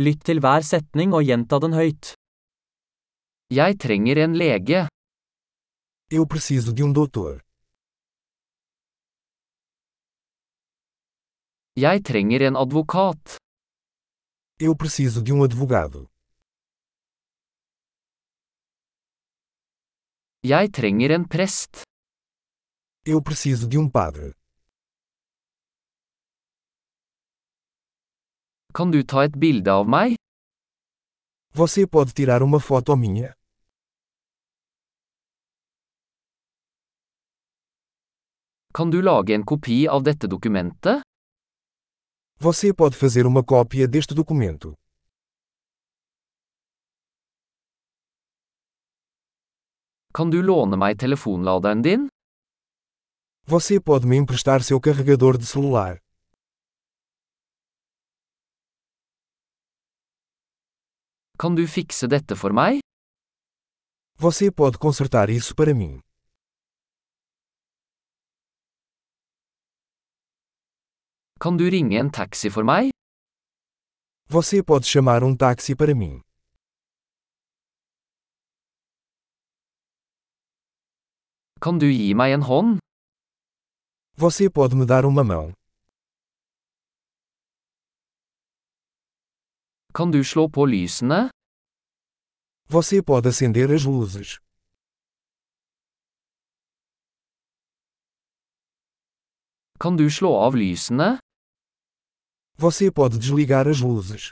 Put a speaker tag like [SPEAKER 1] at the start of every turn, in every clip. [SPEAKER 1] Lytt til hver setning og gjenta den høyt. Jeg trenger en lege.
[SPEAKER 2] Eu preciso de um doutor.
[SPEAKER 1] Jeg trenger en advokat.
[SPEAKER 2] Eu preciso de um advogado.
[SPEAKER 1] Jeg trenger en prest.
[SPEAKER 2] Eu preciso de um padre.
[SPEAKER 1] Kan du ta et bilde av meg?
[SPEAKER 2] Você pode tirar uma foto minha?
[SPEAKER 1] Kan du lage en kopi av dette dokumentet?
[SPEAKER 2] Você pode fazer uma cópia deste documento.
[SPEAKER 1] Kan du låne meg telefonladeren din?
[SPEAKER 2] Você pode me emprestar seu carregador de celular.
[SPEAKER 1] Kan du fikse dette for meg?
[SPEAKER 2] Você pode consertar isso para mim.
[SPEAKER 1] Kan du ringe en taxi for meg?
[SPEAKER 2] Você pode chamar um táxi para mim.
[SPEAKER 1] Kan du gi meg en hånd?
[SPEAKER 2] Você pode me dar uma mão.
[SPEAKER 1] Kan du slå på lysene?
[SPEAKER 2] Você pode acender as luzes.
[SPEAKER 1] Kan du slå av lysene?
[SPEAKER 2] Você pode desligar as luzes.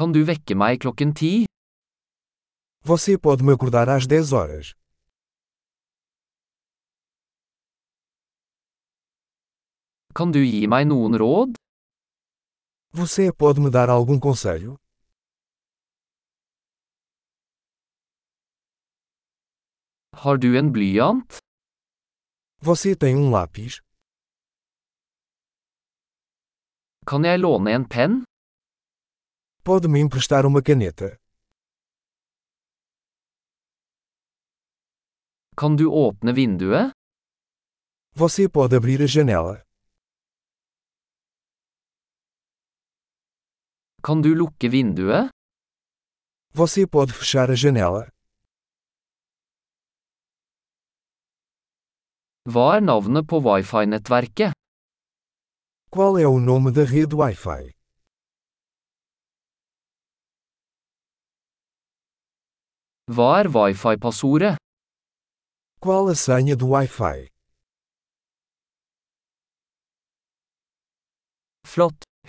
[SPEAKER 1] Kan du vekke meg klokken ti?
[SPEAKER 2] Você pode me acordar às 10 horas.
[SPEAKER 1] Kan du gi meg noen råd?
[SPEAKER 2] Você pode me dar algum conselho?
[SPEAKER 1] Har du en blyant?
[SPEAKER 2] Você tem um lápis?
[SPEAKER 1] Kan jeg låne en penn?
[SPEAKER 2] Pode me emprestar uma caneta?
[SPEAKER 1] Kan du åpne vinduet?
[SPEAKER 2] Você pode abrir a janela?
[SPEAKER 1] Kan du lukke vinduet?
[SPEAKER 2] Você pode fechar a janela?
[SPEAKER 1] Hva er navnet på wifi-nettverket?
[SPEAKER 2] Qual é o nome da rede Wi-Fi?
[SPEAKER 1] Hva er wifi-passordet?
[SPEAKER 2] Qual a senha do Wi-Fi?
[SPEAKER 1] Flott!